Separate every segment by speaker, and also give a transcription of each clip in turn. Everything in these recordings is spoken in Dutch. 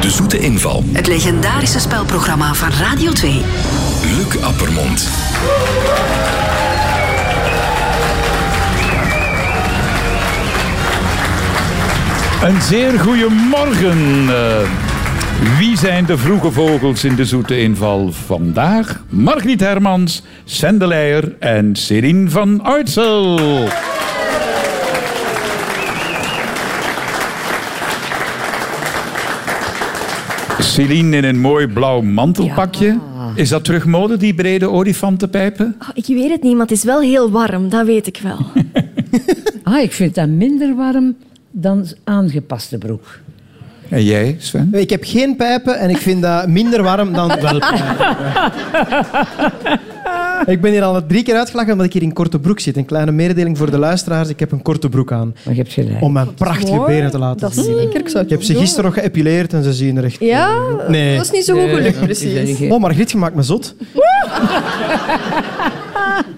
Speaker 1: De Zoete Inval.
Speaker 2: Het legendarische spelprogramma van Radio 2.
Speaker 1: Luc Appermond.
Speaker 3: Een zeer goede morgen. eh. wie zijn de vroege vogels in de zoete inval vandaag? Margriet Hermans, Sendeleyer en Serien van Uitsel. Celine in een mooi blauw mantelpakje. Is dat terug mode, die brede olifantenpijpen?
Speaker 4: Oh, ik weet het niet, maar het is wel heel warm, dat weet ik wel.
Speaker 5: Ah, ik vind dat minder warm dan aangepaste broek.
Speaker 3: En jij, Sven?
Speaker 6: Ik heb geen pijpen en ik vind dat minder warm dan wel pijpen. Ik ben hier al drie keer uitgelachen omdat ik hier in korte broek zit. Een kleine mededeling voor de luisteraars. Ik heb een korte broek aan.
Speaker 5: Maar je hebt gelijk.
Speaker 6: Om mijn prachtige
Speaker 7: Mooi.
Speaker 6: benen te laten
Speaker 7: Dat is
Speaker 6: zien.
Speaker 7: zeker. Ik zou het
Speaker 6: Ik heb ze
Speaker 7: doen.
Speaker 6: gisteren nog geëpileerd en ze zien er echt...
Speaker 7: Ja,
Speaker 6: Nee.
Speaker 7: dat is niet zo goed gelukt, precies.
Speaker 5: Ge-
Speaker 6: Oh, Margriet, je maakt me zot.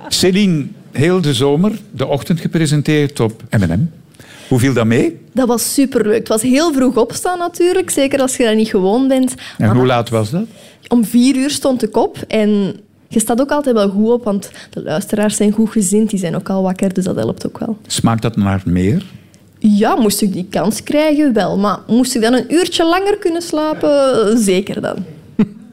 Speaker 3: Céline, heel de zomer, de ochtend gepresenteerd op M&M. Hoe viel dat mee?
Speaker 7: Dat was superleuk. Het was heel vroeg opstaan natuurlijk, zeker als je dat niet gewoon bent.
Speaker 3: En hoe laat was dat?
Speaker 7: Om vier uur stond ik op en je staat ook altijd wel goed op, want de luisteraars zijn goed gezind, die zijn ook al wakker, dus dat helpt ook wel.
Speaker 3: Smaakt dat naar meer?
Speaker 7: Ja, moest ik die kans krijgen, wel. Maar moest ik dan een uurtje langer kunnen slapen? Zeker dan.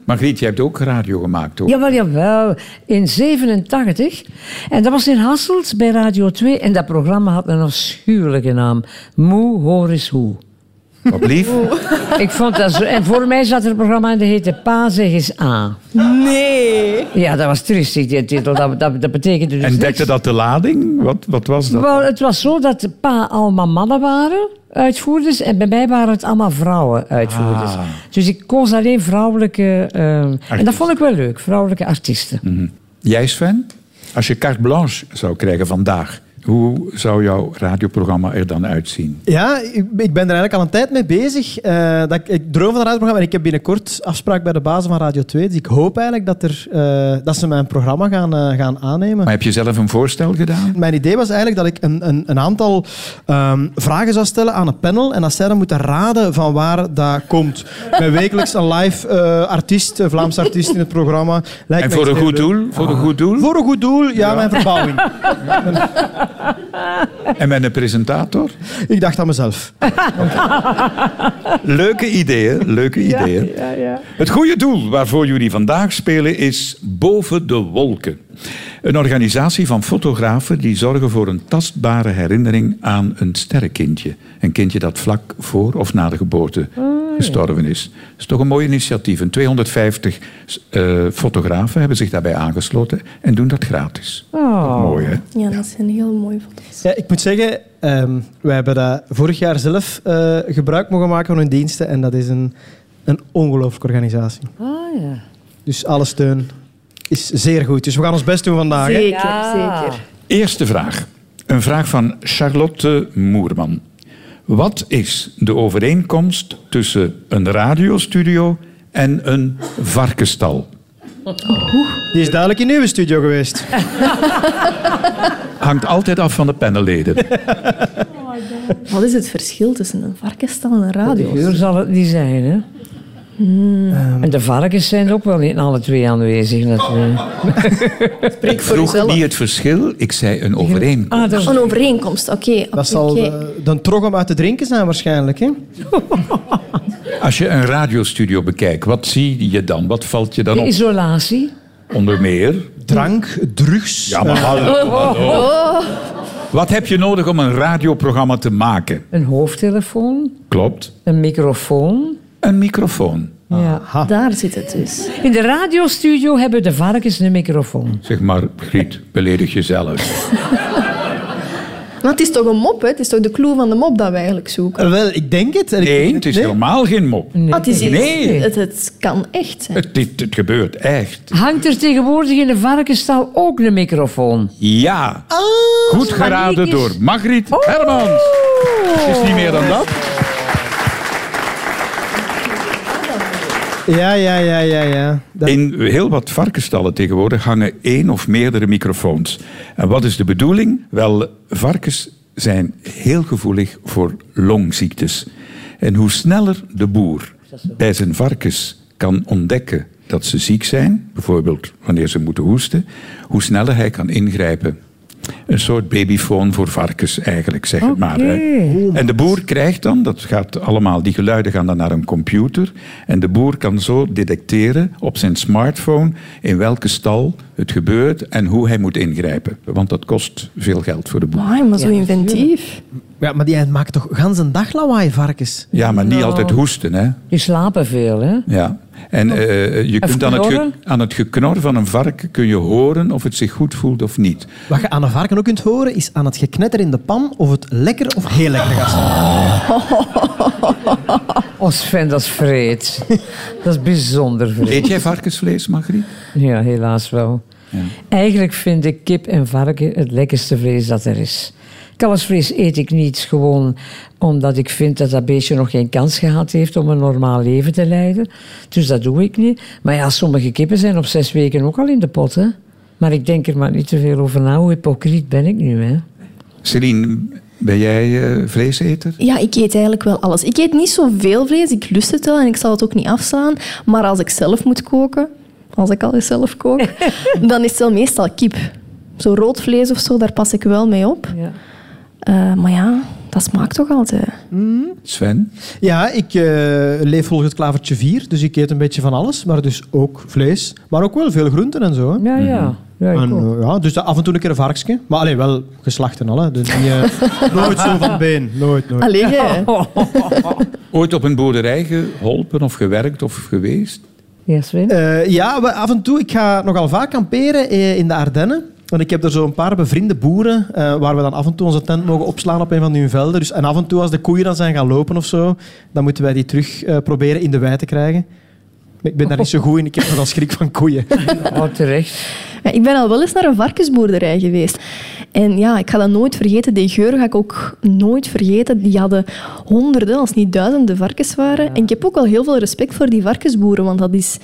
Speaker 3: Margriet, jij hebt ook radio gemaakt, hoor.
Speaker 5: Jawel, jawel. In 87. En dat was in Hasselt bij Radio 2. En dat programma had een afschuwelijke naam. Moe, hoor eens hoe.
Speaker 3: Wat lief.
Speaker 5: Ik vond dat zo... En voor mij zat er een programma en dat heette Pa, zeg eens A.
Speaker 7: Nee.
Speaker 5: Ja, dat was triestig, die titel. Dat, dat, dat betekende dus
Speaker 3: En dekte
Speaker 5: niks.
Speaker 3: dat de lading? Wat, wat was dat?
Speaker 5: Wel, het was zo dat de pa allemaal mannen waren, uitvoerders, en bij mij waren het allemaal vrouwen, uitvoerders.
Speaker 3: Ah.
Speaker 5: Dus ik koos alleen vrouwelijke... eh, en dat vond ik wel leuk, vrouwelijke artiesten.
Speaker 3: Jij, Sven? Als je carte blanche zou krijgen vandaag, hoe zou jouw radioprogramma er dan uitzien?
Speaker 6: Ja, ik, ik ben er eigenlijk al een tijd mee bezig. Eh, dat, ik, ik droom van een radioprogramma en ik heb binnenkort afspraak bij de bazen van Radio 2. Dus ik hoop eigenlijk dat, er, eh, dat ze mijn programma gaan, eh, gaan aannemen.
Speaker 3: Maar heb je zelf een voorstel gedaan?
Speaker 6: Mijn idee was eigenlijk dat ik een, een, een aantal ehm, vragen zou stellen aan een panel en dat zij dan moeten raden van waar dat komt. Met wekelijks een live eh, artiest, een Vlaams artiest in het programma. Lijkt
Speaker 3: En
Speaker 6: me
Speaker 3: voor
Speaker 6: echt
Speaker 3: een
Speaker 6: heel
Speaker 3: goed
Speaker 6: leuk.
Speaker 3: doel? Voor een goed doel?
Speaker 6: Voor een goed doel, ja, mijn verbouwing.
Speaker 3: En met een presentator?
Speaker 6: Ik dacht aan mezelf.
Speaker 3: Leuke ideeën, leuke ideeën. Het goede doel waarvoor jullie vandaag spelen is Boven de Wolken. Een organisatie van fotografen die zorgen voor een tastbare herinnering aan een sterrenkindje. Een kindje dat vlak voor of na de geboorte gestorven is. Dat is toch een mooi initiatief. En 250 eh, fotografen hebben zich daarbij aangesloten en doen dat gratis.
Speaker 5: Oh.
Speaker 3: Mooi, hè?
Speaker 7: Ja, dat zijn heel mooie foto's.
Speaker 6: Ja, ik moet zeggen, ehm, wij hebben dat vorig jaar zelf eh, gebruik mogen maken van hun diensten en dat is een, een ongelooflijke organisatie.
Speaker 5: Ah, ja.
Speaker 6: Dus alle steun is zeer goed. Dus we gaan ons best doen vandaag. hè.
Speaker 7: Zeker,
Speaker 5: Ja.
Speaker 7: zeker.
Speaker 3: Eerste vraag. Een vraag van Charlotte Moerman. Wat is de overeenkomst tussen een radiostudio en een varkenstal?
Speaker 6: Die is duidelijk in uw studio geweest.
Speaker 3: Hangt altijd af van de panelleden.
Speaker 7: Wat is het verschil tussen een varkenstal en een
Speaker 5: De
Speaker 7: radio?
Speaker 5: geur Ah, zal het niet zijn, hè? En de varkens zijn ook wel niet alle twee aanwezig. eh. Natuurlijk.
Speaker 3: Ik vroeg niet het verschil, ik zei een overeenkomst.
Speaker 5: Ah, dat is-
Speaker 7: Een overeenkomst, oké. oké,
Speaker 6: Dat zal
Speaker 7: oké.
Speaker 6: eh, dan trog om uit te drinken zijn waarschijnlijk. Hè?
Speaker 3: Als je een radiostudio bekijkt, wat zie je dan? Wat valt je dan
Speaker 5: de
Speaker 3: op?
Speaker 5: isolatie.
Speaker 3: Onder meer...
Speaker 6: Drank, drugs.
Speaker 3: Ja, maar hallo,
Speaker 7: Oh,
Speaker 3: hallo. Wat heb je nodig om een radioprogramma te maken?
Speaker 5: Een hoofdtelefoon.
Speaker 3: Klopt.
Speaker 5: Een microfoon.
Speaker 3: Een microfoon.
Speaker 5: Ja.
Speaker 7: Daar zit het dus.
Speaker 5: In de radiostudio hebben de varkens een microfoon.
Speaker 3: Zeg maar, Griet, beledig jezelf.
Speaker 7: Maar het is toch een mop, hè? Het is toch de clue van de mop dat we eigenlijk zoeken?
Speaker 6: Eh, wel, ik denk het. En ik-
Speaker 3: Nee, het is helemaal geen mop.
Speaker 7: Ah, het, is iets-
Speaker 3: Nee.
Speaker 7: het, het kan echt zijn.
Speaker 3: Het, dit- het gebeurt echt.
Speaker 5: Hangt er tegenwoordig in de varkenstal ook een microfoon?
Speaker 3: Ja.
Speaker 5: Oh,
Speaker 3: Goed geraden
Speaker 5: Marieke is-
Speaker 3: door Margriet Hermans. Het is niet meer dan dat.
Speaker 6: Ja, ja, ja, ja. ja. Dat-
Speaker 3: In heel wat varkenstallen tegenwoordig hangen één of meerdere microfoons. En wat is de bedoeling? Wel, varkens zijn heel gevoelig voor longziektes. En hoe sneller de boer bij zijn varkens kan ontdekken dat ze ziek zijn, bijvoorbeeld wanneer ze moeten hoesten, hoe sneller hij kan ingrijpen. Een soort babyfoon voor varkens eigenlijk, zeg het maar. hè. En de boer krijgt dan, dat gaat allemaal, die geluiden gaan dan naar een computer. En de boer kan zo detecteren op zijn smartphone in welke stal het gebeurt en hoe hij moet ingrijpen. Want dat kost veel geld voor de boer.
Speaker 7: Amai, maar zo inventief.
Speaker 8: Ja, maar die maakt toch gans een dag lawaai, varkens?
Speaker 3: Ja, maar niet altijd hoesten, hè.
Speaker 5: Die slapen veel, hè?
Speaker 3: Ja. En eh, je kunt aan het, ge-
Speaker 5: knorren?
Speaker 3: aan het geknor van een varken kun je horen of het zich goed voelt of niet.
Speaker 8: Wat je aan een varken ook kunt horen, is aan het geknetter in de pan of het lekker of heel lekker gaat. zijn.
Speaker 5: Oh Sven, dat is vreed. dat is bijzonder vreed.
Speaker 3: Eet jij varkensvlees, Margriet?
Speaker 5: Ja, helaas wel. Eigenlijk vind ik kip en varken het lekkerste vlees dat er is. Kalfsvlees eet ik niet gewoon omdat ik vind dat dat beestje nog geen kans gehad heeft om een normaal leven te leiden. Dus dat doe ik niet. Maar ja, sommige kippen zijn op zes weken ook al in de pot. Hè? Maar ik denk er maar niet te veel over na. Hoe hypocriet ben ik nu? Hè?
Speaker 3: Celine, ben jij eh, vleeseter?
Speaker 7: Ja, ik eet eigenlijk wel alles. Ik eet niet zoveel vlees, ik lust het wel en ik zal het ook niet afslaan. Maar als ik zelf moet koken, als ik al eens zelf kook, dan is het wel meestal kip. Zo rood vlees of zo, daar pas ik wel mee op.
Speaker 5: Ja.
Speaker 7: Eh, maar ja, dat smaakt toch altijd.
Speaker 3: Sven?
Speaker 8: Ja, ik eh, leef volgens het klavertje 4, dus ik eet een beetje van alles. Maar dus ook vlees, maar ook wel veel groenten en zo. hè.
Speaker 5: Ja, ja.
Speaker 3: Mhm.
Speaker 5: ja ik
Speaker 8: En,
Speaker 5: ook.
Speaker 8: eh, ja, dus af en toe een keer een varkensje. Maar alleen wel geslacht en al. Hè. Dus niet, eh, nooit zo van been. Nooit, nooit.
Speaker 7: Allee, jij.
Speaker 3: Ooit op een boerderij geholpen of gewerkt of geweest?
Speaker 5: Ja, Sven?
Speaker 8: Eh, ja, we- af en toe. Ik ga nogal vaak kamperen eh, in de Ardennen. Want ik heb er zo'n paar bevriende boeren eh, waar we dan af en toe onze tent mogen opslaan op een van hun velden. Dus, en af en toe als de koeien dan zijn gaan lopen of zo, dan moeten wij die terug eh, proberen in de wei te krijgen. Maar Ik ben daar niet zo goed in. Ik heb nogal schrik van koeien.
Speaker 5: Oh, terecht.
Speaker 7: Ja, ik ben al wel eens naar een varkensboerderij geweest. En ja, ik ga dat nooit vergeten. Die geur ga ik ook nooit vergeten. Die hadden honderden, als niet duizenden varkens waren. En ik heb ook al heel veel respect voor die varkensboeren, want dat is,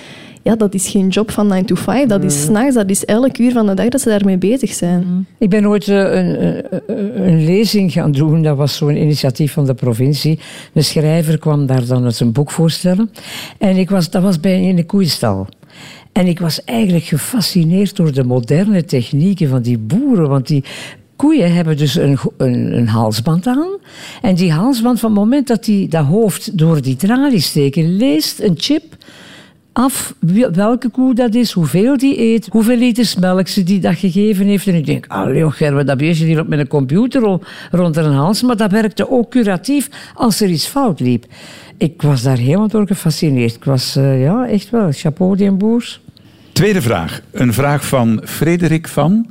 Speaker 7: ja, dat is geen job van 9 to 5. Dat is s'nachts, dat is elk uur van de dag dat ze daarmee bezig zijn.
Speaker 5: Ik ben ooit eh, een, een, een lezing gaan doen. Dat was zo'n initiatief van de provincie. Een schrijver kwam daar dan met zijn boek voorstellen. En ik was, dat was bij in een koeistal. En ik was eigenlijk gefascineerd door de moderne technieken van die boeren. Want die koeien hebben dus een, go- een, een halsband aan. En die halsband, van het moment dat die, dat hoofd door die tralies steken, leest een chip af wie- welke koe dat is, hoeveel die eet, hoeveel liters melk ze die dag gegeven heeft. En ik denk, allee, och, Gerben, dat beestje hier op met een computer ro- rond de hals. Maar dat werkte ook curatief als er iets fout liep. Ik was daar helemaal door gefascineerd. Ik was, eh, ja, echt wel, chapeau die boers.
Speaker 3: Tweede vraag. Een vraag van Frederik van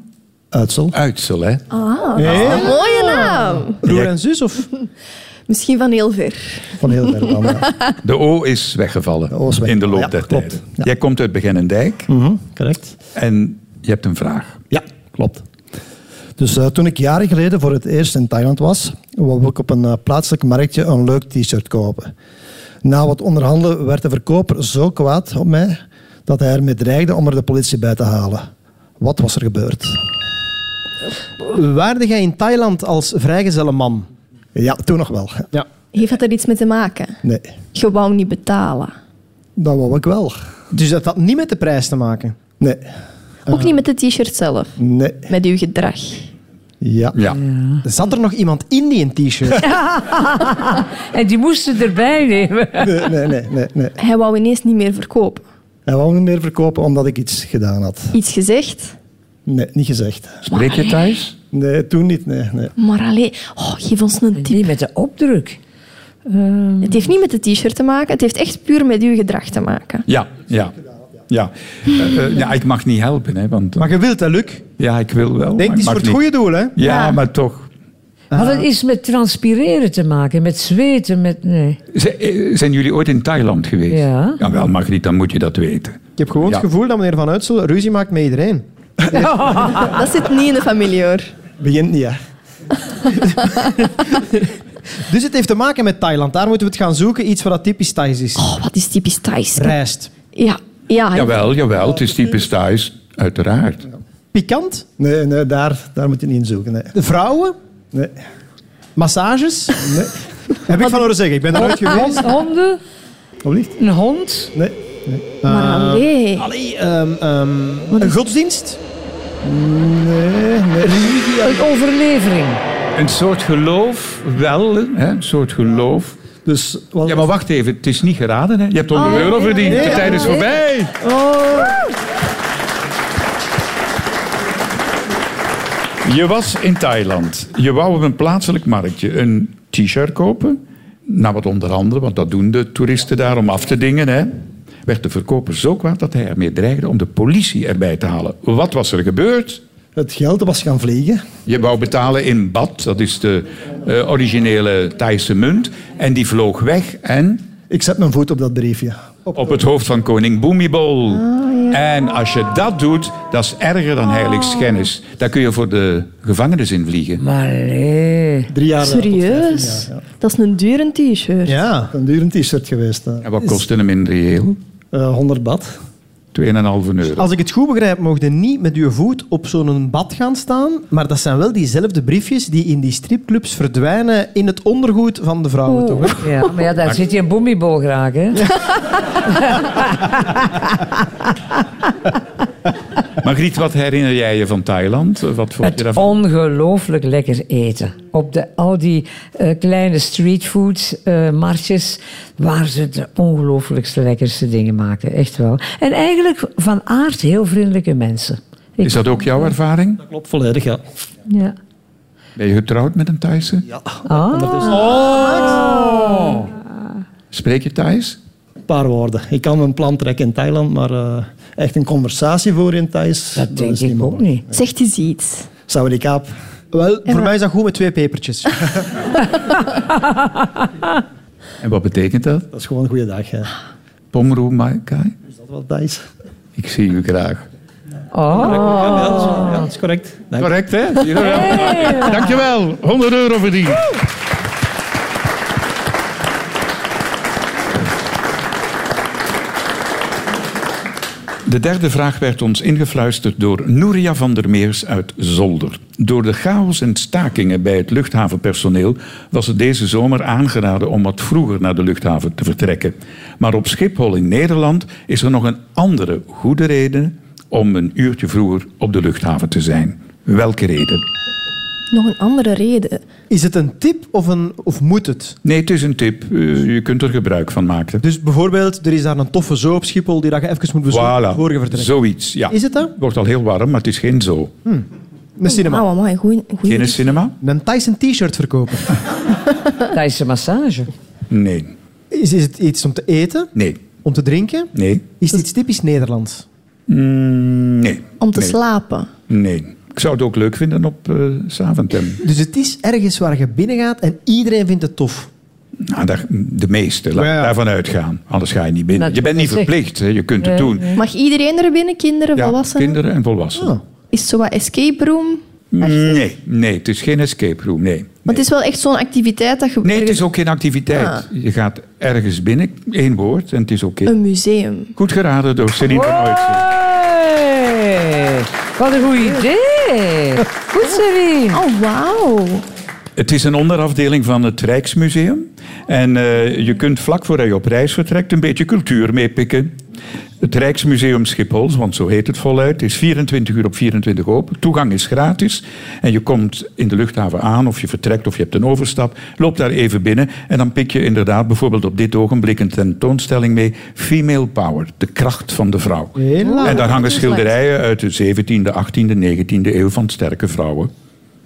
Speaker 8: Uitsel.
Speaker 3: Uitsel. Hè?
Speaker 8: Nee,
Speaker 7: Ah, Een mooie naam!
Speaker 8: broer en zus of
Speaker 7: Misschien van heel ver.
Speaker 6: Van heel ver dan, ja.
Speaker 3: De O is weggevallen
Speaker 6: O is weg.
Speaker 3: in de loop
Speaker 6: Ja,
Speaker 3: der
Speaker 6: klopt.
Speaker 3: tijd.
Speaker 6: Ja. Mm.
Speaker 3: Jij komt uit Beginnendijk
Speaker 8: Mhm,
Speaker 6: Correct.
Speaker 3: en je hebt een vraag.
Speaker 6: Ja, klopt. Dus eh, toen ik jaren geleden voor het eerst in Thailand was, wou ik op een eh, plaatselijk marktje een leuk t-shirt kopen. Na wat onderhandelen werd de verkoper zo kwaad op mij dat hij ermee dreigde om er de politie bij te halen. Wat was er gebeurd?
Speaker 8: waarde jij in Thailand als vrijgezelle man?
Speaker 6: Ja, toen nog wel.
Speaker 8: Ja.
Speaker 7: Heeft dat er iets mee te maken?
Speaker 6: Nee,
Speaker 7: Je wou niet betalen.
Speaker 6: dat wou ik wel.
Speaker 8: Dus dat had niet met de prijs te maken.
Speaker 6: Nee,
Speaker 7: Ook niet met de t-shirt zelf.
Speaker 6: nee,
Speaker 7: Met uw gedrag.
Speaker 6: ja.
Speaker 3: Ja.
Speaker 8: Zat er nog iemand in die een t-shirt?
Speaker 5: En die moesten erbij nemen.
Speaker 6: Nee, nee, nee, nee, nee.
Speaker 7: Hij wou ineens niet meer verkopen.
Speaker 6: Hij wou niet meer verkopen omdat ik iets gedaan had.
Speaker 7: Iets gezegd,
Speaker 6: Nee, niet gezegd.
Speaker 3: Spreek je thuis?
Speaker 6: Nee, toen niet, nee. nee.
Speaker 7: maar alleen, oh, geef ons een tip.
Speaker 5: Die met de opdruk.
Speaker 7: Het heeft niet met het t-shirt te maken, het heeft echt puur met uw gedrag te maken.
Speaker 3: Ja. Ja. Ja. Eh, eh, ja, ik mag niet helpen, hè, want eh,
Speaker 8: Maar je wilt dat, Luc.
Speaker 3: ja, ik wil wel. maar
Speaker 8: Denk, het is
Speaker 3: ik
Speaker 8: voor
Speaker 3: mag
Speaker 8: het
Speaker 3: niet.
Speaker 8: goede doel, hè?
Speaker 3: Ja, maar toch.
Speaker 5: Had het iets met transpireren te maken, met zweten, met... Nee.
Speaker 3: Z- eh, Zijn jullie ooit in Thailand geweest?
Speaker 5: Ja.
Speaker 3: Ja, wel, Margriet, dan moet je dat weten.
Speaker 8: Ik heb gewoon
Speaker 3: Ja.
Speaker 8: het gevoel dat meneer Van Uitsel ruzie maakt met iedereen.
Speaker 3: Ah.
Speaker 7: Dat zit niet in de familie hoor.
Speaker 6: Begint niet, hè.
Speaker 8: Dus het heeft te maken met Thailand. Daar moeten we het gaan zoeken. Iets wat dat typisch Thais is.
Speaker 7: Oh, wat is typisch Thais.
Speaker 8: Rijst.
Speaker 7: Ja, ja,
Speaker 3: Jawel, jawel, het is typisch thuis, uiteraard.
Speaker 8: Pikant.
Speaker 6: Nee, nee, daar, daar moet je niet in zoeken, nee.
Speaker 8: De vrouwen.
Speaker 6: nee. Oh, Ah.
Speaker 8: Massages. Heb ik van horen zeggen. Ik ben er nooit geweest.
Speaker 5: Honden?
Speaker 8: Alsjeblieft.
Speaker 5: Een hond?
Speaker 8: Nee.
Speaker 4: Maar
Speaker 3: Ah,
Speaker 4: allee.
Speaker 8: Allee, ehm, ehm,
Speaker 4: Wat
Speaker 8: een
Speaker 4: is-
Speaker 8: godsdienst? Nee, nee.
Speaker 5: Een overlevering?
Speaker 3: Een soort geloof, wel. Hè? Een soort geloof.
Speaker 6: Dus wat,
Speaker 3: Ja, maar wacht even. Het is niet geraden. Hè? Je hebt 100 euro verdiend. de tijd is voorbij. Oh. Je was in Thailand. Je wou op een plaatselijk marktje een t-shirt kopen. Nou, wat onder andere, want dat doen de toeristen daar om af te dingen. Hè? Werd de verkoper zo kwaad dat hij ermee dreigde om de politie erbij te halen. Wat was er gebeurd?
Speaker 6: het geld was gaan vliegen.
Speaker 3: Je wou betalen in bad, dat is de eh, originele Thaise munt. En die vloog weg en
Speaker 6: Ik zet mijn voet op dat briefje.
Speaker 3: op het hoofd van koning Boemibol. En als je dat doet, dat is erger dan heiligschennis. Daar kun je voor de gevangenis in vliegen.
Speaker 5: Maar nee.
Speaker 6: Drie jaar eh, tot
Speaker 7: Serieus? Dat is een dure t-shirt.
Speaker 8: Ja.
Speaker 6: Een duur een t-shirt geweest. eh.
Speaker 3: En wat kostte hem in reëel?
Speaker 6: Eh, 100 bad.
Speaker 3: 2,5 euro.
Speaker 8: Als ik het goed begrijp, mocht je niet met je voet op zo'n bad gaan staan. Maar dat zijn wel diezelfde briefjes die in die stripclubs verdwijnen in het ondergoed van de vrouwen,
Speaker 5: Oh.
Speaker 8: toch? hè?
Speaker 5: Ja, maar ja, daar zit je een boemiebol graag, hè?
Speaker 3: Margriet, wat herinner jij je van Thailand? Wat vond je
Speaker 5: Het
Speaker 3: daarvan?
Speaker 5: ongelooflijk lekker eten. Op de, al die eh, kleine streetfood eh marktjes waar ze de ongelooflijkste lekkerste dingen maken. Echt wel. En eigenlijk van aard heel vriendelijke mensen. Ik-
Speaker 3: Is dat ook jouw ervaring?
Speaker 9: Klopt volledig, ja.
Speaker 5: Ja.
Speaker 3: Ben je getrouwd met een Thaise? Oh.
Speaker 5: Ah,
Speaker 3: Spreek je Thais?
Speaker 6: Een paar woorden. Ik kan een plan trekken in Thailand, maar eh, echt een conversatie voeren in Thais.
Speaker 5: dat denk
Speaker 6: is
Speaker 5: ik ook
Speaker 6: mogelijk.
Speaker 5: niet.
Speaker 7: Zegt eens iets.
Speaker 6: Sawadee-kaap.
Speaker 8: Wel, voor mij is dat goed met twee pepertjes.
Speaker 3: En wat betekent dat?
Speaker 6: Dat is gewoon een goede dag. Hè.
Speaker 3: Pomroe Maikai?
Speaker 6: Is dat wel Thais?
Speaker 3: Ik zie u graag.
Speaker 5: Oh,
Speaker 6: Ja, dat is, ja, dat is correct. Dank.
Speaker 3: Correct, hè? Jawel. Dankjewel. 100 euro verdiend. De derde vraag werd ons ingefluisterd door Nouria van der Meers uit Zolder. Door de chaos en stakingen bij het luchthavenpersoneel was het deze zomer aangeraden om wat vroeger naar de luchthaven te vertrekken. Maar op Schiphol in Nederland is er nog een andere goede reden om een uurtje vroeger op de luchthaven te zijn. Welke reden?
Speaker 7: Nog een andere reden.
Speaker 8: Is het een tip of, een, of moet het?
Speaker 3: Nee, het is een tip. Eh, je kunt er gebruik van maken.
Speaker 8: Dus bijvoorbeeld, er is daar een toffe zoo op Schiphol die dat je even moet bezoeken.
Speaker 3: Voilà,
Speaker 8: voor je vertrekt.
Speaker 3: zoiets. Ja.
Speaker 8: Is het dat?
Speaker 3: Het wordt al heel warm, maar het is geen zo.
Speaker 8: Een cinema.
Speaker 7: Oh, amai, goeie, goeie.
Speaker 3: Geen cinema?
Speaker 8: Een Tyson t-shirt verkopen.
Speaker 5: dat is een massage.
Speaker 3: Nee.
Speaker 8: Is, is het iets om te eten?
Speaker 3: Nee.
Speaker 8: Om te drinken?
Speaker 3: Nee.
Speaker 8: Is het iets typisch Nederlands?
Speaker 3: Mm, nee.
Speaker 7: Om te
Speaker 3: Nee.
Speaker 7: slapen.
Speaker 3: Nee. Ik zou het ook leuk vinden op eh Saventem.
Speaker 8: Dus het is ergens waar je binnengaat en iedereen vindt het tof.
Speaker 3: Nou, daar, de meeste, laat
Speaker 8: Ja, ja.
Speaker 3: daarvan uitgaan. Anders ga je niet binnen.
Speaker 5: Dat
Speaker 3: je bent
Speaker 5: is
Speaker 3: niet
Speaker 5: echt-
Speaker 3: verplicht, hè. je kunt het doen.
Speaker 7: Mag iedereen er binnen? Kinderen,
Speaker 3: Ja,
Speaker 7: volwassenen? Oh,
Speaker 3: kinderen en volwassenen. Mm,
Speaker 7: Is het zo wat escape room?
Speaker 3: Nee, nee, het is geen escape room. Nee.
Speaker 7: Want het is wel echt zo'n activiteit dat je...
Speaker 3: Nee, het
Speaker 7: ergens-
Speaker 3: is ook geen activiteit. Je gaat ergens binnen, één woord, en het is oké.
Speaker 7: Ah. Een museum.
Speaker 3: Goed geraden door Céline van Ooytsen.
Speaker 5: Hey, wat een goed idee. Goed, Serene.
Speaker 7: Oh, wauw.
Speaker 3: Het is een onderafdeling van het Rijksmuseum. En eh, je kunt vlak voor je op reis vertrekt een beetje cultuur meepikken. Het Rijksmuseum Schiphol, want zo heet het voluit, is 24 uur op 24 open. Toegang is gratis. En je komt in de luchthaven aan, of je vertrekt, of je hebt een overstap. Loop daar even binnen en dan pik je inderdaad bijvoorbeeld op dit ogenblik een tentoonstelling mee. Female Power, de kracht van de vrouw. En daar hangen schilderijen uit de 17e, 18e, 19e eeuw van sterke vrouwen.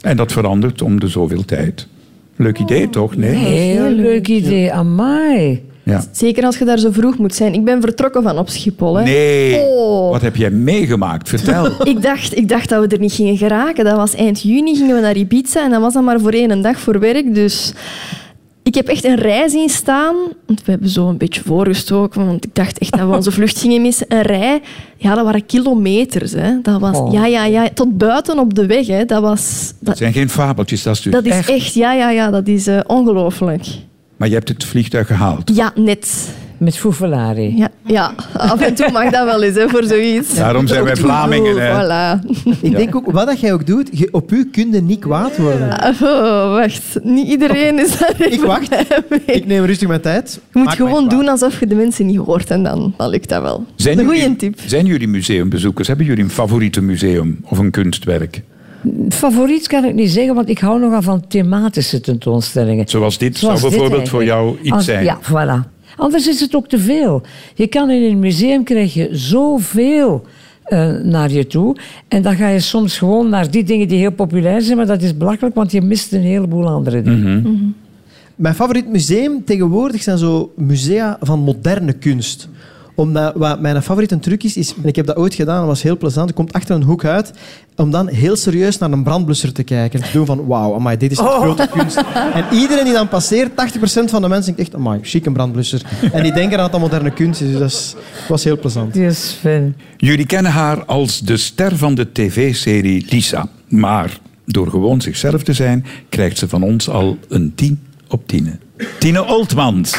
Speaker 3: En dat verandert om de zoveel tijd. Leuk
Speaker 7: Oh,
Speaker 3: idee toch? Nee?
Speaker 5: Heel leuk idee. Amai.
Speaker 3: Ja.
Speaker 7: Zeker als je daar zo vroeg moet zijn. Ik ben vertrokken van op Schiphol. Hè.
Speaker 3: Nee.
Speaker 7: Oh.
Speaker 3: Wat heb jij meegemaakt? Vertel.
Speaker 7: Ik dacht, ik dacht dat we er niet gingen geraken. Dat was eind juni, gingen we naar Ibiza en dat was dan maar voor één dag voor werk. Dus ik heb echt een rij zien staan. Want we hebben zo een beetje voorgestoken, want ik dacht echt dat we onze vlucht gingen missen. Een rij, ja, dat waren kilometers. Hè. Dat was,
Speaker 5: Oh.
Speaker 7: ja, ja, ja, tot buiten op de weg. Hè. Dat was...
Speaker 3: Dat
Speaker 7: Dat,
Speaker 3: zijn geen fabeltjes, dat is dus
Speaker 7: dat is
Speaker 3: echt.
Speaker 7: echt, ja, ja, ja, dat is eh, ongelooflijk.
Speaker 3: Maar je hebt het vliegtuig gehaald.
Speaker 7: Ja, net.
Speaker 5: Met fouvelari.
Speaker 7: Ja, ja, af en toe mag dat wel eens, hè, voor zoiets.
Speaker 3: Daarom zijn wij Vlamingen, hè.
Speaker 7: Oh, voilà.
Speaker 8: Ik denk ook, wat dat jij ook doet, je, op u kun je niet kwaad worden.
Speaker 7: Oh, wacht. Niet iedereen is daar
Speaker 8: Ik wacht. Ik neem rustig mijn tijd.
Speaker 7: Je moet
Speaker 8: Maak mij
Speaker 7: gewoon
Speaker 8: kwaad.
Speaker 7: doen alsof je de mensen niet hoort en dan, dan lukt dat wel. een goede tip.
Speaker 3: Zijn jullie museumbezoekers? Hebben jullie een favoriete museum of een kunstwerk?
Speaker 5: Favoriet kan ik niet zeggen, want ik hou nogal van thematische tentoonstellingen.
Speaker 3: Zoals dit
Speaker 5: Zoals
Speaker 3: zou
Speaker 5: dit
Speaker 3: bijvoorbeeld voor jou
Speaker 5: eigenlijk.
Speaker 3: iets
Speaker 7: Oh,
Speaker 5: Als-
Speaker 3: zijn.
Speaker 5: Ja, voilà. Anders is het ook te veel. Je kan in een museum krijg je zoveel eh, naar je toe. En dan ga je soms gewoon naar die dingen die heel populair zijn, maar dat is belachelijk, want je mist een heleboel andere dingen.
Speaker 8: Mijn favoriet museum tegenwoordig zijn zo musea van moderne kunst. Omdat wat mijn favoriete truc is, is, en ik heb dat ooit gedaan, dat was heel plezant. Je komt achter een hoek uit om dan heel serieus naar een brandblusser te kijken. En te doen van, wauw, amai, dit is echt
Speaker 7: Oh.
Speaker 8: grote kunst. En iedereen die dan passeert, 80% van de mensen, denkt echt, amai, chic een brandblusser. En die denken dat dat moderne kunst is. Dus dat is- was heel plezant.
Speaker 3: Mhm.
Speaker 5: Dus, Sven.
Speaker 3: Jullie kennen haar als de ster van de tv-serie Lisa. Maar door gewoon zichzelf te zijn, krijgt ze van ons al een 10 op 10. Tine Oltmans.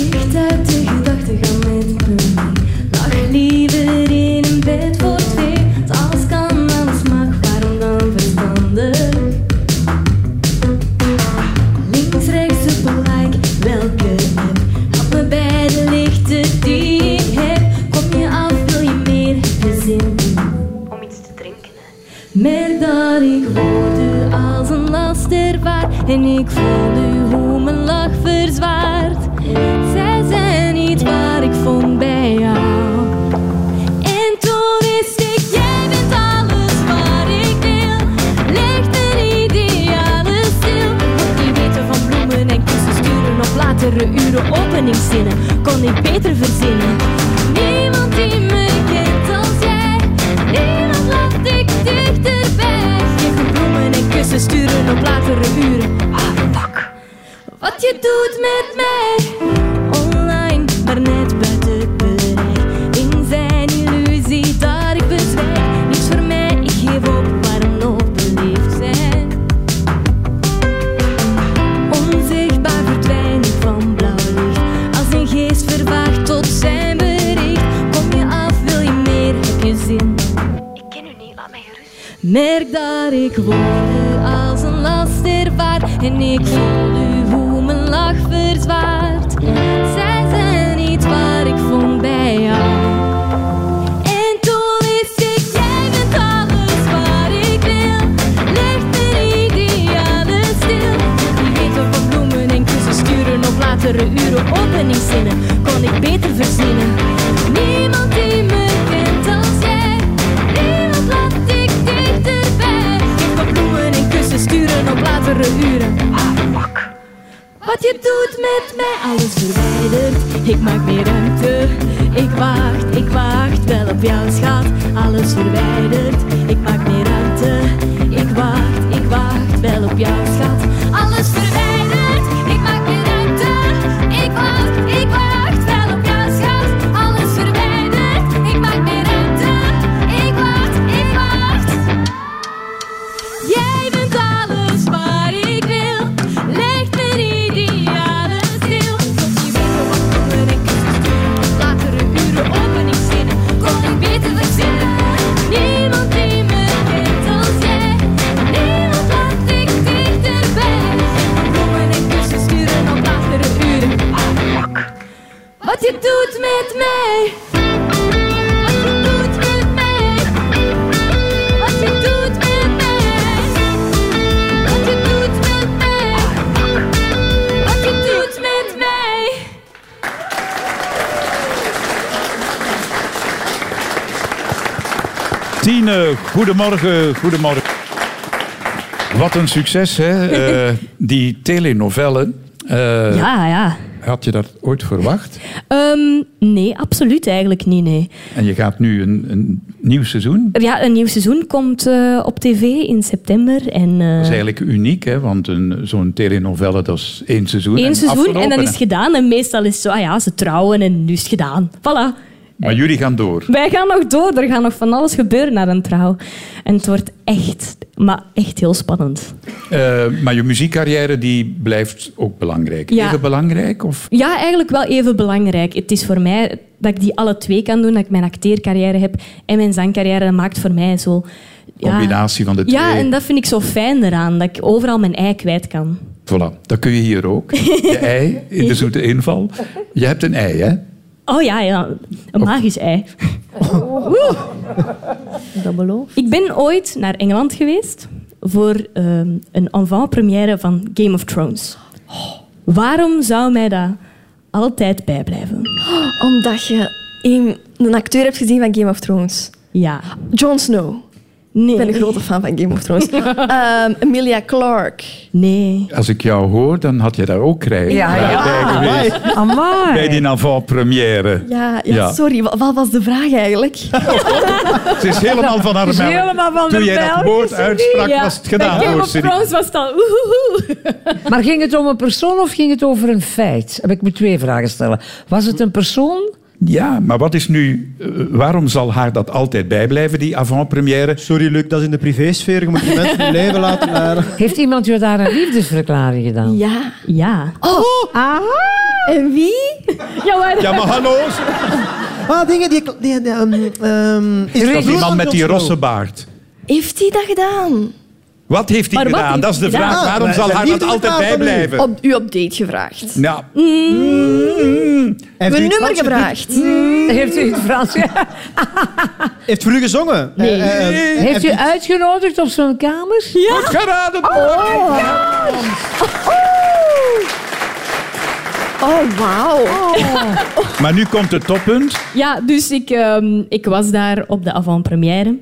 Speaker 9: Dicht uit de gedachten gaan met me Lag liever in een bed voor twee. Want alles kan, alles mag, waarom dan verstandig? Links, rechts, like welke app? Help me bij de lichten die ik heb. Kom je af, wil je meer, heb je zin om iets te drinken? Merk dat ik woorden als een last ervaar En ik voel nu hoe mijn lach verzwaart Zij zijn niet waar ik vond bij jou en toen wist ik, jij bent alles wat ik wil. Ligt een ideale stil. Want die weten van bloemen en kussen sturen op latere uren openingszinnen. Kon ik beter verzinnen. Niemand die me kent als jij. Niemand laat ik dichterbij. Geef me bloemen en kussen sturen op latere uren. Ah, fuck wat je doet met mij. Online, maar net buiten bereik. In zijn illusie dat ik bezwijk. Niets voor mij, ik geef op waarom ook beleefd zijn. Onzichtbaar verdwijn ik van blauw licht. Als een geest vervaagt tot zijn bericht. Kom je af, wil je meer, heb je zin? Merk dat ik woorden als een last ervaar En ik voel nu hoe mijn lach verzwaart Zij zijn niet waar ik vond bij jou En toen wist ik, jij bent alles wat ik wil Ligt een ideale stil Die weten van bloemen en kussen sturen Op latere uren openingszinnen Kon ik beter verzinnen Niemand die me kent als jij Niemand laat ik dichterbij Geef me bloemen en kussen sturen op latere uren Ah, fuck wat je doet met mij, alles verwijderd. Ik maak meer ruimte. Ik wacht, ik wacht wel op jou, schat. Alles verwijderd. Ik maak meer ruimte. Ik wacht, ik wacht wel op jou, schat. Alles verwijderd. Ik maak meer ruimte. Ik wacht, ik wacht wel op jou, schat. Alles verwijderd. Ik maak meer ruimte. Ik wacht, ik wacht. Jij bent alles waar ik wil. Leg mijn idealen stil. Tot je weet wat komen ik sturen. Latere uren openingszinnen. Kon ik beter verzinnen. Niemand die me kent als jij. Niemand laat ik dichterbij. Bloemen en kussen sturen dus op latere uren. Ah, fuck. Wat je doet met mij. Wat je doet met mij. Wat je doet met mij. Wat je doet met mij. Wat je doet met mij.
Speaker 3: Tine, goedemorgen, goedemorgen. Wat een succes, hè? Eh, die telenovelle. eh,
Speaker 9: Ja, ja.
Speaker 3: Had je dat ooit verwacht?
Speaker 9: Ehm, nee, absoluut eigenlijk niet, nee.
Speaker 3: En je gaat nu een, een nieuw seizoen.
Speaker 9: Ja, een nieuw seizoen komt eh, op tv in september. En, eh,
Speaker 3: Dat is eigenlijk uniek, hè? want een- zo'n telenovelle dat is één seizoen.
Speaker 9: Eén seizoen en dan
Speaker 3: afgelopen,
Speaker 9: is het gedaan. En meestal is het zo, ah ja, ze trouwen en nu is het gedaan. Voilà.
Speaker 3: Maar jullie gaan door.
Speaker 9: Wij gaan nog door, er gaat nog van alles gebeuren naar een trouw. En het wordt echt, maar echt heel spannend.
Speaker 3: Eh, maar je muziekcarrière die blijft ook belangrijk.
Speaker 9: Ja.
Speaker 3: Even belangrijk? Of?
Speaker 9: Ja, eigenlijk wel even belangrijk. Het is voor mij dat ik die alle twee kan doen, dat ik mijn acteercarrière heb en mijn zangcarrière. Dat maakt voor mij zo... ja.
Speaker 3: Combinatie van de twee.
Speaker 9: Ja, en dat vind ik zo fijn eraan, dat ik overal mijn ei kwijt kan.
Speaker 3: Voilà, dat kun je hier ook. Je ei in de zoete inval. Je hebt een ei, hè?
Speaker 9: Oh ja, ja. een magisch ei. Oh.
Speaker 7: Dat beloof.
Speaker 9: Ik ben ooit naar Engeland geweest voor ehm, een avant-première van Game of Thrones. Waarom zou mij dat altijd bijblijven?
Speaker 7: Omdat je een, een acteur hebt gezien van Game of Thrones.
Speaker 9: Ja.
Speaker 7: Jon Snow.
Speaker 9: Nee.
Speaker 7: Ik ben een grote fan van Game of Thrones. Ehm, Emilia Clarke.
Speaker 9: Nee.
Speaker 3: Als ik jou hoor, dan had je daar ook krijgen.
Speaker 5: Ja, ja.
Speaker 3: Bij, geweest.
Speaker 5: Amai.
Speaker 3: bij die avant-première.
Speaker 7: Ja, ja,
Speaker 3: Ja.
Speaker 7: sorry. Wat, wat was de vraag eigenlijk?
Speaker 3: Ze is helemaal van haar
Speaker 5: is
Speaker 3: melk.
Speaker 5: helemaal van
Speaker 3: Toen
Speaker 5: de
Speaker 3: jij dat
Speaker 5: melk,
Speaker 3: woord
Speaker 5: is het
Speaker 3: uitsprak,
Speaker 9: Ja,
Speaker 3: was het
Speaker 9: bij
Speaker 3: gedaan
Speaker 9: Game
Speaker 3: hoor,
Speaker 9: of
Speaker 3: Siri.
Speaker 9: Thrones was het al... oehoehoe.
Speaker 5: Maar ging het om een persoon of ging het over een feit? Heb Ik moet twee vragen stellen. Was het een persoon?
Speaker 3: Ja, maar wat is nu... eh, waarom zal haar dat altijd bijblijven, die avant-première?
Speaker 8: Sorry, Luc, dat is in de privésfeer. Je moet je mensen hun leven laten leiden.
Speaker 5: Heeft iemand je daar een liefdesverklaring gedaan?
Speaker 7: Ja. Oh.
Speaker 9: Ja.
Speaker 7: En wie?
Speaker 9: Ja, maar...
Speaker 8: Ja, maar hallo. Ah, dingen die... die, die ehm, ehm, is
Speaker 3: Dat
Speaker 8: dat
Speaker 3: is die man met die rosse baard.
Speaker 7: Heeft hij dat gedaan?
Speaker 3: Wat heeft hij
Speaker 9: Maar wat
Speaker 3: gedaan?
Speaker 9: heeft
Speaker 3: dat is de
Speaker 9: hij Ah,
Speaker 3: vraag.
Speaker 9: gedaan?
Speaker 3: Waarom zal
Speaker 8: Wij
Speaker 3: haar
Speaker 8: zijn
Speaker 3: dat
Speaker 8: niet
Speaker 3: altijd
Speaker 8: van u.
Speaker 3: bijblijven?
Speaker 7: Op, u op date gevraagd.
Speaker 3: Nou,
Speaker 7: Mijn nummer
Speaker 8: gevraagd.
Speaker 7: gevraagd.
Speaker 5: Heeft u, het Frans,
Speaker 8: Heeft voor u gezongen? Nee.
Speaker 5: heeft u uitgenodigd op zo'n kamer?
Speaker 3: goed geraden.
Speaker 7: Oh, wauw.
Speaker 3: Maar nu komt het toppunt.
Speaker 9: Ja, dus ik, ehm, ik was daar op de avant-première.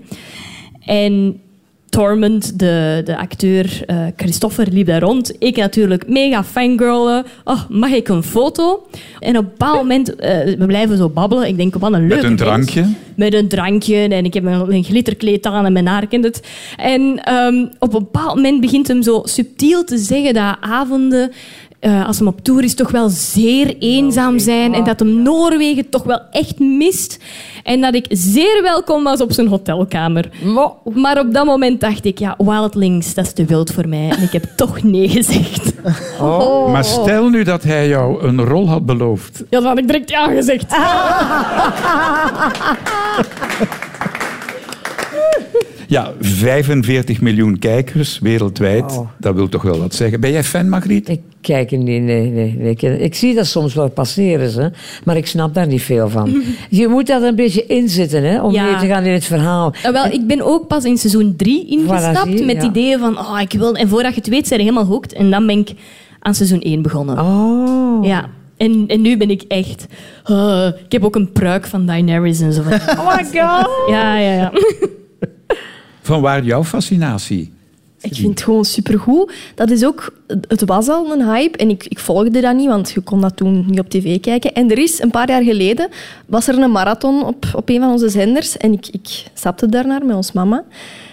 Speaker 9: En Torment, de, de acteur eh, Christopher, liep daar rond. Ik natuurlijk mega fangirlen. Oh, mag ik een foto? En op een bepaald moment, eh, we blijven zo babbelen. Ik denk, wat een leuke
Speaker 3: Met een
Speaker 9: mens.
Speaker 3: drankje.
Speaker 9: Met een drankje. En ik heb een, een glitterkleed aan en mijn haar kent het. En ehm, op een bepaald moment begint hem zo subtiel te zeggen dat avonden... eh, als hem op tour is, toch wel zeer eenzaam zijn. En dat hem Noorwegen toch wel echt mist. En dat ik zeer welkom was op zijn hotelkamer.
Speaker 5: Mo.
Speaker 9: Maar op dat moment dacht ik, ja, Wildlings, dat is te wild voor mij. En ik heb toch nee gezegd.
Speaker 8: Oh,
Speaker 3: Maar stel nu dat hij jou een rol had beloofd.
Speaker 9: Ja, dan had ik direct ja gezegd.
Speaker 3: Ja, 45 miljoen kijkers wereldwijd.
Speaker 5: Wauw.
Speaker 3: Dat wil toch wel wat zeggen. Ben jij fan, Margriet?
Speaker 5: Ik kijk er niet, nee, nee. nee. Ik, ik zie dat soms wel passeren, ze, maar ik snap daar niet veel van. Je moet dat een beetje inzitten, hè, om
Speaker 9: Ja.
Speaker 5: mee te gaan in het verhaal.
Speaker 9: Eh, Wel, ik ben ook pas in seizoen 3 ingestapt
Speaker 5: Voilà, zie je,
Speaker 9: met
Speaker 5: ja.
Speaker 9: het idee van, oh, ik wil... En voordat je het weet, zijn we helemaal hooked. En dan ben ik aan seizoen 1 begonnen.
Speaker 5: Oh.
Speaker 9: Ja. En, en nu ben ik echt... eh, ik heb ook een pruik van Daenerys en zo. van-
Speaker 5: Oh my god.
Speaker 9: Ja, Ah, ja, ja.
Speaker 3: Van waar jouw fascinatie?
Speaker 7: Ik vind het gewoon supergoed. Dat is ook, het was al een hype en ik, ik volgde dat niet, want je kon dat toen niet op tv kijken. En er is een paar jaar geleden was er een marathon op, op een van onze zenders en ik, ik stapte daarnaar met ons mama.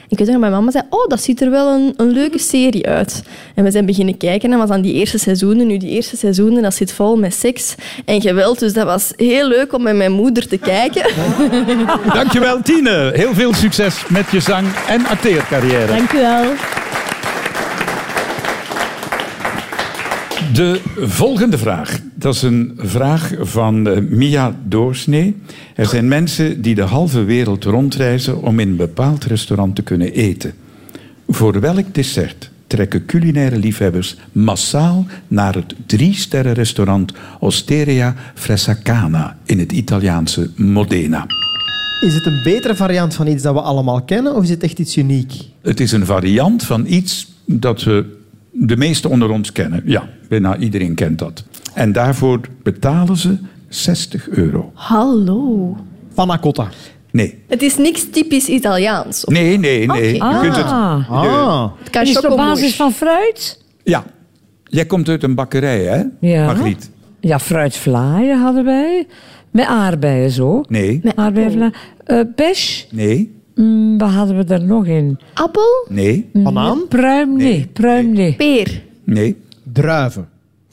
Speaker 7: Ik weet nog, mijn mama zei, oh, dat ziet er wel een, een leuke serie uit. En we zijn beginnen kijken en was aan die eerste seizoenen. Nu, die eerste seizoenen, dat zit vol met seks en geweld. Dus dat was heel leuk om met mijn moeder te kijken.
Speaker 3: Dankjewel, Tine. Heel veel succes met je zang- en acteercarrière.
Speaker 9: Dank u wel.
Speaker 3: De volgende vraag. Dat is een vraag van eh, Mia Doorsnee. Er zijn mensen die de halve wereld rondreizen om in een bepaald restaurant te kunnen eten. Voor welk dessert trekken culinaire liefhebbers massaal naar het drie-sterren restaurant Osteria Fressacana in het Italiaanse Modena?
Speaker 8: Is het een betere variant van iets dat we allemaal kennen, of is het echt iets uniek?
Speaker 3: Het is een variant van iets dat we de meesten onder ons kennen. Ja, bijna iedereen kent dat. En daarvoor betalen ze 60 euro.
Speaker 7: Hallo.
Speaker 8: Panna cotta.
Speaker 3: Nee,
Speaker 7: Het is niks typisch Italiaans. Of
Speaker 3: nee, nee, nee. Je kunt het,
Speaker 5: Ah.
Speaker 8: Ah.
Speaker 7: het
Speaker 5: En
Speaker 7: kan
Speaker 5: Is het op
Speaker 7: chocomousse.
Speaker 5: basis van fruit?
Speaker 3: ja. Jij komt uit een bakkerij, hè?
Speaker 5: Ja.
Speaker 3: Margriet?
Speaker 5: Ja, fruitvlaaien hadden wij. Met aardbeien zo.
Speaker 3: Nee,
Speaker 7: Met
Speaker 5: Aardbeienvla- Eh, pech,
Speaker 3: nee,
Speaker 5: mm, wat hadden we daar nog in?
Speaker 7: Appel,
Speaker 3: nee,
Speaker 8: Banaan.
Speaker 5: Pruim, nee. Pruim, nee.
Speaker 7: peer.
Speaker 3: nee.
Speaker 8: Druiven.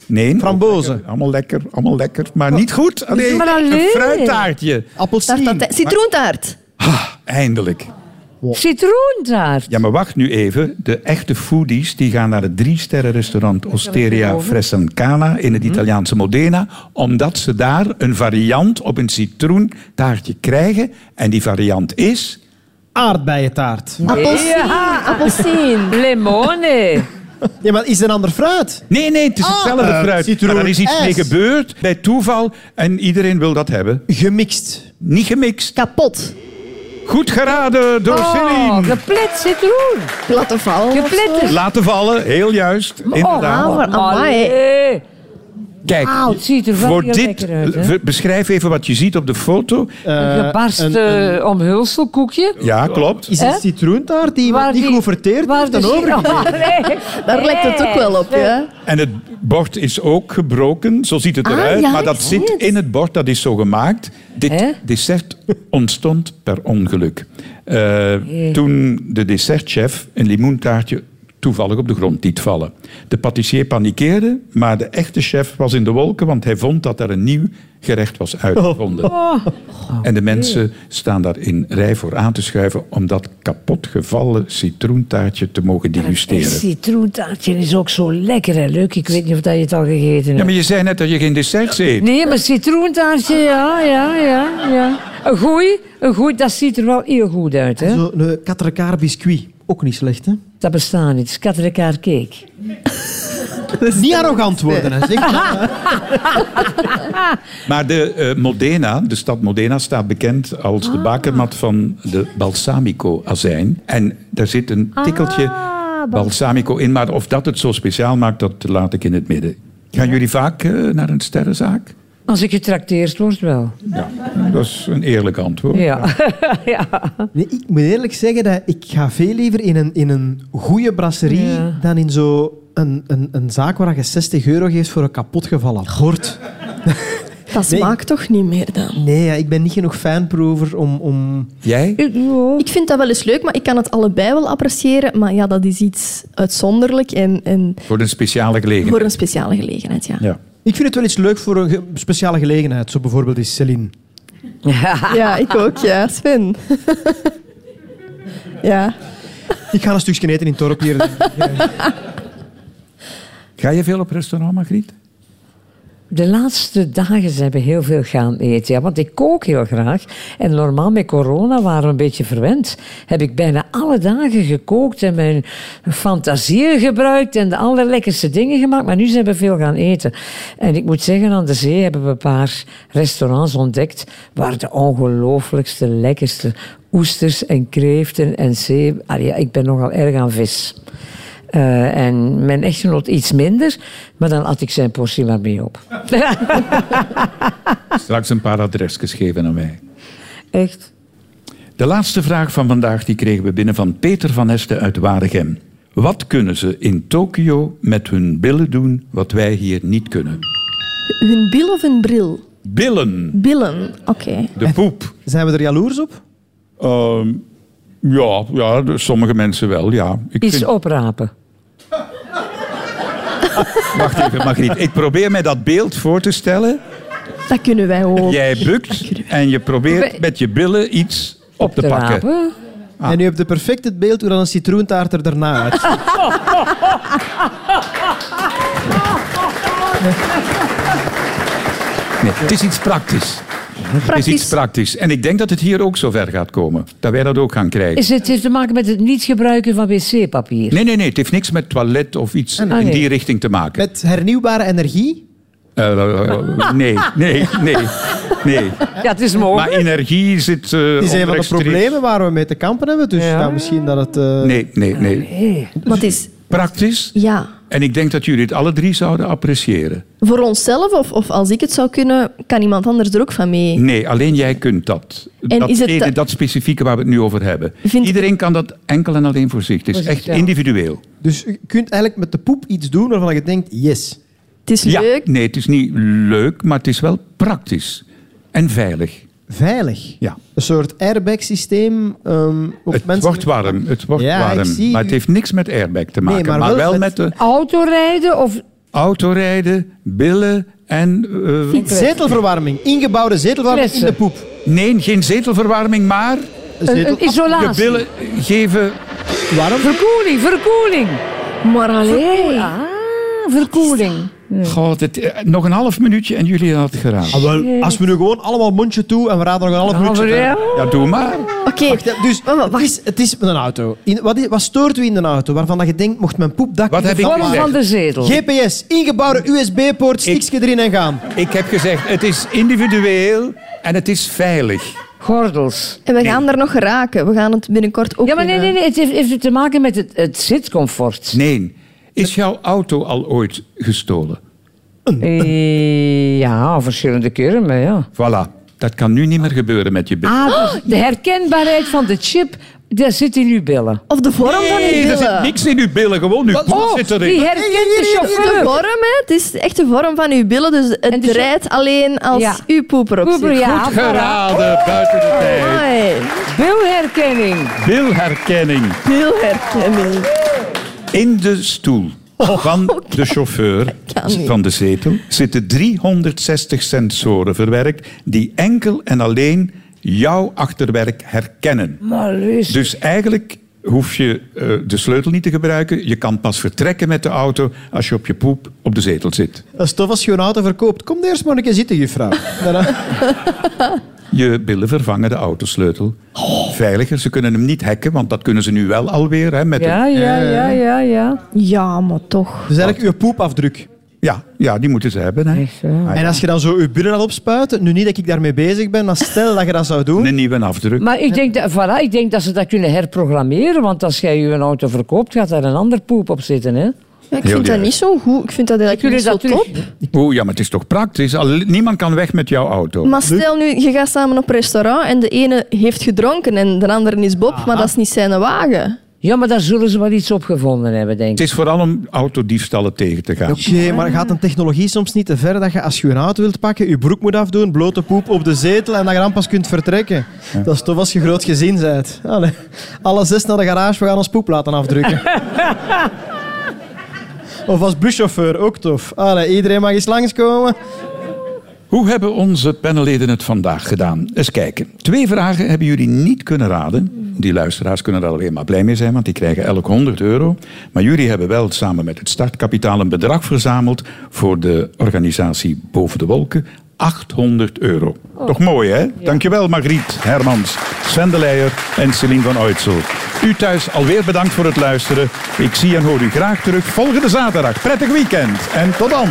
Speaker 3: Nee.
Speaker 8: Frambozen.
Speaker 3: Allemaal lekker, allemaal lekker. Maar niet goed. Allee,
Speaker 5: Oh. Maar alleen.
Speaker 3: Een fruittaartje.
Speaker 7: Taart aan
Speaker 8: Appelsien.
Speaker 7: tij- Citroentaart.
Speaker 3: Ah, eindelijk.
Speaker 5: Citroentaart.
Speaker 3: Ja, maar wacht nu even. De echte foodies die gaan naar het drie-sterren restaurant Osteria Fressencana in
Speaker 5: Mhm.
Speaker 3: het Italiaanse Modena, omdat ze daar een variant op een citroentaartje krijgen. En die variant is...
Speaker 8: Aardbeientaart.
Speaker 7: Appelsien. Appelsien.
Speaker 5: Lemone.
Speaker 8: Ja, maar is het een ander fruit?
Speaker 3: Nee, nee,
Speaker 5: Oh.
Speaker 3: het is hetzelfde
Speaker 8: eh,
Speaker 3: fruit.
Speaker 8: citroen
Speaker 3: maar er is iets
Speaker 8: S.
Speaker 3: mee gebeurd, bij toeval, en iedereen wil dat hebben.
Speaker 8: Gemixt.
Speaker 3: Niet gemixt.
Speaker 7: Kapot.
Speaker 3: Goed geraden door
Speaker 5: Oh,
Speaker 3: Céline.
Speaker 5: geplet citroen.
Speaker 7: Platte val. of zo.
Speaker 5: Geplet. Oh,
Speaker 3: Laten vallen, heel juist. Inderdaad.
Speaker 7: wauw. maar amai.
Speaker 5: Allee.
Speaker 3: Kijk,
Speaker 5: Auw, het ziet er wel
Speaker 3: voor
Speaker 5: heel
Speaker 3: dit, eh,
Speaker 5: lekker uit. hè.
Speaker 3: v- beschrijf even wat je ziet op de foto.
Speaker 5: Een gebarst eh, omhulselkoekje.
Speaker 3: Ja, klopt.
Speaker 8: Is het
Speaker 5: Hè?
Speaker 8: citroentaart die iemand niet goed verteerd
Speaker 5: waar
Speaker 8: heeft en
Speaker 5: de-
Speaker 8: overgegeven?
Speaker 5: Allee.
Speaker 7: Daar lijkt het ook wel op, ja.
Speaker 3: En het bord is ook gebroken, zo ziet het
Speaker 7: Ah,
Speaker 3: eruit.
Speaker 7: ja,
Speaker 3: maar
Speaker 7: ik
Speaker 3: dat
Speaker 7: zie
Speaker 3: zit
Speaker 7: het.
Speaker 3: in het bord, dat is zo gemaakt. Dit
Speaker 5: Hè?
Speaker 3: dessert ontstond per ongeluk. Eh, Toen de dessertchef een limoentaartje toevallig op de grond liet vallen. De patissier panikeerde, maar de echte chef was in de wolken, want hij vond dat er een nieuw gerecht was uitgevonden.
Speaker 7: Oh.
Speaker 3: En de mensen staan daar in rij voor aan te schuiven om dat kapotgevallen citroentaartje te mogen
Speaker 5: Een
Speaker 3: degusteren.
Speaker 5: citroentaartje is ook zo lekker en leuk. Ik weet niet of dat je het al gegeten
Speaker 3: Ja,
Speaker 5: hebt.
Speaker 3: maar je zei net dat je geen desserts eet.
Speaker 5: Nee, maar citroentaartje, ja, ja, ja. ja. Een goeie, een goeie, dat ziet er wel heel goed uit. Hè?
Speaker 8: Zo'n katrekaar biscuit. Ook niet slecht, hè?
Speaker 5: Dat bestaat niet. Katrekaar cake.
Speaker 8: Niet arrogant worden, hè. Zeg.
Speaker 3: Maar de eh, Modena, de stad Modena, staat bekend als de bakermat van de balsamico-azijn. En daar zit een tikkeltje balsamico in. Maar of dat het zo speciaal maakt, dat laat ik in het midden. Gaan jullie vaak eh, naar een sterrenzaak?
Speaker 5: Als ik getrakteerd word, wel.
Speaker 3: Ja, dat is een eerlijk antwoord.
Speaker 5: Ja. ja.
Speaker 8: Nee, ik moet eerlijk zeggen dat ik ga veel liever in een, in een goede brasserie
Speaker 5: Ja.
Speaker 8: dan in zo'n een, een, een zaak waar je 60 euro geeft voor een kapotgevallen gort.
Speaker 7: Dat
Speaker 8: Nee.
Speaker 7: smaakt toch niet meer dan.
Speaker 8: Nee, ja, ik ben niet genoeg fanprover om... om...
Speaker 3: Jij?
Speaker 5: Ik- ja.
Speaker 7: Ik vind dat wel eens leuk, maar ik kan het allebei wel appreciëren. Maar ja, dat is iets uitzonderlijk en, en
Speaker 3: Voor een speciale gelegenheid.
Speaker 7: voor een speciale gelegenheid, ja.
Speaker 3: Ja.
Speaker 8: Ik vind het wel iets leuk voor een ge- speciale gelegenheid. Zo bijvoorbeeld is Céline.
Speaker 7: Ja, ik ook, ja. Sven. ja.
Speaker 8: Ik ga een stukje eten in het dorp hier.
Speaker 3: Ga je veel op restaurant, Margriet?
Speaker 5: De laatste dagen zijn we heel veel gaan eten. Ja, want ik kook heel graag. En normaal met corona waren we een beetje verwend. Heb ik bijna alle dagen gekookt en mijn fantasieën gebruikt en de allerlekkerste dingen gemaakt. Maar nu zijn we veel gaan eten. En ik moet zeggen, aan de zee hebben we een paar restaurants ontdekt waar de ongelooflijkste, lekkerste oesters en kreeften en zee. Allee, ja, ik ben nogal erg aan vis. Eh, en mijn echtgenoot iets minder, maar dan at ik zijn portie maar mee op.
Speaker 3: Straks een paar adresjes geven aan mij.
Speaker 5: Echt?
Speaker 3: De laatste vraag van vandaag die kregen we binnen van Peter van Hesten uit Waregem. Wat kunnen ze in Tokio met hun billen doen wat wij hier niet kunnen?
Speaker 7: Hun bil of hun bril?
Speaker 3: Billen,
Speaker 7: Billen, oké.
Speaker 3: de poep.
Speaker 8: Zijn we er jaloers op?
Speaker 3: Ehm, ja, ja, de- sommige mensen wel, ja. Ik
Speaker 5: Iets
Speaker 3: vind-
Speaker 5: oprapen.
Speaker 3: Wacht even, Margriet. Ik probeer mij dat beeld voor te stellen.
Speaker 7: Dat kunnen wij ook.
Speaker 3: Jij bukt en je probeert met je billen iets op te pakken.
Speaker 5: rapen.
Speaker 3: Ah.
Speaker 8: En u hebt de perfect het beeld hoe dan een citroentaart er daarna uit.
Speaker 3: Nee, het is iets praktisch. Het is iets
Speaker 7: Praktisch.
Speaker 3: praktisch. En ik denk dat het hier ook zo ver gaat komen. Dat wij dat ook gaan krijgen.
Speaker 5: Is het heeft te maken met het niet gebruiken van wc-papier?
Speaker 3: Nee, nee, nee. Het heeft niks met toilet of iets
Speaker 5: nee.
Speaker 3: in die richting te maken.
Speaker 8: Met hernieuwbare energie.
Speaker 3: Eh, nee, nee, nee, nee.
Speaker 5: Ja, het is mogelijk.
Speaker 3: Maar energie zit... eh
Speaker 8: Dat is een van de
Speaker 3: onrechtstreeks-
Speaker 8: problemen waar we mee te kampen hebben. Dus
Speaker 5: Ja.
Speaker 8: ja, misschien dat het... eh,
Speaker 3: Nee, nee, nee.
Speaker 7: Maar het is,
Speaker 3: Praktisch.
Speaker 7: ja,
Speaker 3: En ik denk dat jullie het alle drie zouden appreciëren.
Speaker 7: voor onszelf of, of als ik het zou kunnen, kan iemand anders er ook van mee.
Speaker 3: Nee, alleen jij kunt dat.
Speaker 7: En
Speaker 3: dat,
Speaker 7: is het
Speaker 3: ene,
Speaker 7: da-
Speaker 3: dat specifieke waar we het nu over hebben.
Speaker 7: Vind-
Speaker 3: Iedereen kan dat enkel en alleen voor zich. Het is
Speaker 5: Voor
Speaker 3: echt
Speaker 5: zichzelf.
Speaker 3: individueel.
Speaker 8: Dus je kunt eigenlijk met de poep iets doen waarvan je denkt, yes.
Speaker 7: Het is leuk.
Speaker 3: Ja, nee, het is niet leuk, maar het is wel praktisch. En veilig.
Speaker 8: Veilig.
Speaker 3: Ja.
Speaker 8: Een soort airbag-systeem. ehm, op
Speaker 3: Het
Speaker 8: mensen-
Speaker 3: wordt warm, het wordt
Speaker 8: Ja, ik
Speaker 3: warm.
Speaker 8: zie
Speaker 3: Maar
Speaker 8: u.
Speaker 3: het heeft niks met airbag te maken.
Speaker 8: maar
Speaker 3: maar,
Speaker 8: wel
Speaker 3: wel
Speaker 8: met-
Speaker 3: met de
Speaker 5: Autorijden of
Speaker 3: autorijden, billen en... eh,
Speaker 8: Zetelverwarming. Ingebouwde zetelverwarming in de
Speaker 5: Flessen.
Speaker 8: poep.
Speaker 3: nee, geen zetelverwarming, maar
Speaker 5: Een, een
Speaker 3: je
Speaker 5: isolatie.
Speaker 3: billen geven...
Speaker 8: Waarom?
Speaker 5: Verkoeling, verkoeling.
Speaker 7: Maar alleen.
Speaker 5: Ah, verkoeling.
Speaker 3: God, het, eh, nog een half minuutje en jullie hadden het geraden.
Speaker 8: Ah, wel, als we nu gewoon allemaal mondje toe en we raden nog een half minuutje.
Speaker 5: voor
Speaker 8: verder.
Speaker 5: jou.
Speaker 3: Ja, doe maar.
Speaker 7: Oké,
Speaker 8: Wacht, hè, dus
Speaker 7: Wacht, wacht.
Speaker 8: het is, het is een auto. In, wat, is- wat stoort u in een auto waarvan dat je denkt, mocht mijn poepdak...
Speaker 3: Wat
Speaker 8: in
Speaker 3: heb
Speaker 8: de
Speaker 3: ik
Speaker 8: val-
Speaker 5: Vorm van de zetel.
Speaker 8: GPS, ingebouwde USB-poort, stiksje erin en gaan.
Speaker 3: Ik heb gezegd, het is individueel en het is veilig.
Speaker 5: Gordels.
Speaker 7: en we gaan daar nog raken. We gaan het binnenkort ook
Speaker 5: Ja, maar nee,
Speaker 7: weer,
Speaker 5: nee, nee. Het heeft, heeft te maken met het, het zitcomfort.
Speaker 3: Nee, is jouw auto al ooit gestolen?
Speaker 5: Eh, Ja, verschillende keren, maar ja.
Speaker 3: Voilà, dat kan nu niet meer gebeuren met je billen.
Speaker 5: Ah, dus de herkenbaarheid van de chip, daar zit in uw billen.
Speaker 7: eh, Of de vorm van die
Speaker 3: Nee, er
Speaker 7: billen.
Speaker 3: zit niks in uw billen, gewoon uw poep
Speaker 5: Oh,
Speaker 3: zit
Speaker 5: die
Speaker 3: erin.
Speaker 5: herkent
Speaker 7: Het
Speaker 5: de
Speaker 7: is de
Speaker 5: chauffeur.
Speaker 7: vorm, hè. Het is echt de vorm van uw billen. Dus
Speaker 5: En
Speaker 7: het
Speaker 5: de-
Speaker 7: rijdt alleen als
Speaker 5: Ja.
Speaker 7: uw poeper op
Speaker 5: Poeper,
Speaker 7: zit.
Speaker 5: ja.
Speaker 7: Goed.
Speaker 3: Geraden, buiten de tijd.
Speaker 7: Mooi.
Speaker 5: Bilherkenning.
Speaker 3: Bilherkenning
Speaker 7: Heel herkenning.
Speaker 3: in de stoel. Van de chauffeur,
Speaker 7: kan niet.
Speaker 3: van de zetel, zitten 360 sensoren verwerkt die enkel en alleen jouw achterwerk herkennen.
Speaker 5: Maar luister.
Speaker 3: Dus eigenlijk hoef je eh, de sleutel niet te gebruiken. Je kan pas vertrekken met de auto als je op je poep op de zetel zit.
Speaker 8: Dat is tof als je een auto verkoopt. Kom eerst maar een keer zitten, juffrouw. Dus Daarna-
Speaker 3: Je billen vervangen de autosleutel. Veiliger, ze kunnen hem niet hacken, want dat kunnen ze nu wel alweer. Hè, met
Speaker 5: Ja,
Speaker 3: een-
Speaker 5: ja, ja, ja, ja.
Speaker 7: Ja, maar toch.
Speaker 8: dus eigenlijk je poepafdruk.
Speaker 3: ja, ja, die moeten ze hebben. Hè.
Speaker 5: Echt waar.
Speaker 3: Ah, ja.
Speaker 8: En als je dan zo je billen al opspuiten, nu niet dat ik daarmee bezig ben, maar stel dat je dat zou doen.
Speaker 3: Een nieuwe afdruk.
Speaker 5: Maar ik denk, dat, voilà, ik denk dat ze dat kunnen herprogrammeren, want als jij je auto verkoopt, gaat daar een ander poep op zitten. Hè?
Speaker 7: Ja, ik
Speaker 3: Heel
Speaker 7: vind dat
Speaker 3: erg.
Speaker 7: niet zo goed. Ik vind dat eigenlijk
Speaker 5: Kunnen
Speaker 7: niet
Speaker 5: ze
Speaker 7: zo
Speaker 5: dat
Speaker 7: top.
Speaker 5: terug?
Speaker 3: Oeh, ja, maar het is toch praktisch. Al- Niemand kan weg met jouw auto.
Speaker 7: Maar stel nu, je gaat samen op restaurant en de ene heeft gedronken en de andere is Bob,
Speaker 5: Ah.
Speaker 7: maar dat is niet zijn wagen.
Speaker 5: Ja, maar daar zullen ze wel iets op gevonden hebben, denk
Speaker 3: Het
Speaker 5: ik.
Speaker 3: is vooral om autodiefstallen tegen te gaan.
Speaker 8: Oké, maar gaat een technologie soms niet te ver dat je als je een auto wilt pakken, je broek moet afdoen, blote poep op de zetel en dat je dan pas kunt vertrekken? Dat is tof als je groot gezin bent. Allee. Alle zes naar de garage, we gaan ons poep laten afdrukken. of als buschauffeur, ook tof. Allee, iedereen mag eens langskomen.
Speaker 3: Hoe hebben onze panelleden het vandaag gedaan? Eens kijken. Twee vragen hebben jullie niet kunnen raden. Die luisteraars kunnen er alleen maar blij mee zijn, want die krijgen elk 100 euro. Maar jullie hebben wel samen met het startkapitaal een bedrag verzameld voor de organisatie Boven de Wolken. 800 euro. Toch mooi, hè? Dankjewel, Margriet Hermans, Sven de Leijer en Celine van Oitsel. U thuis alweer bedankt voor het luisteren. Ik zie en hoor u graag terug volgende zaterdag. Prettig weekend en tot dan.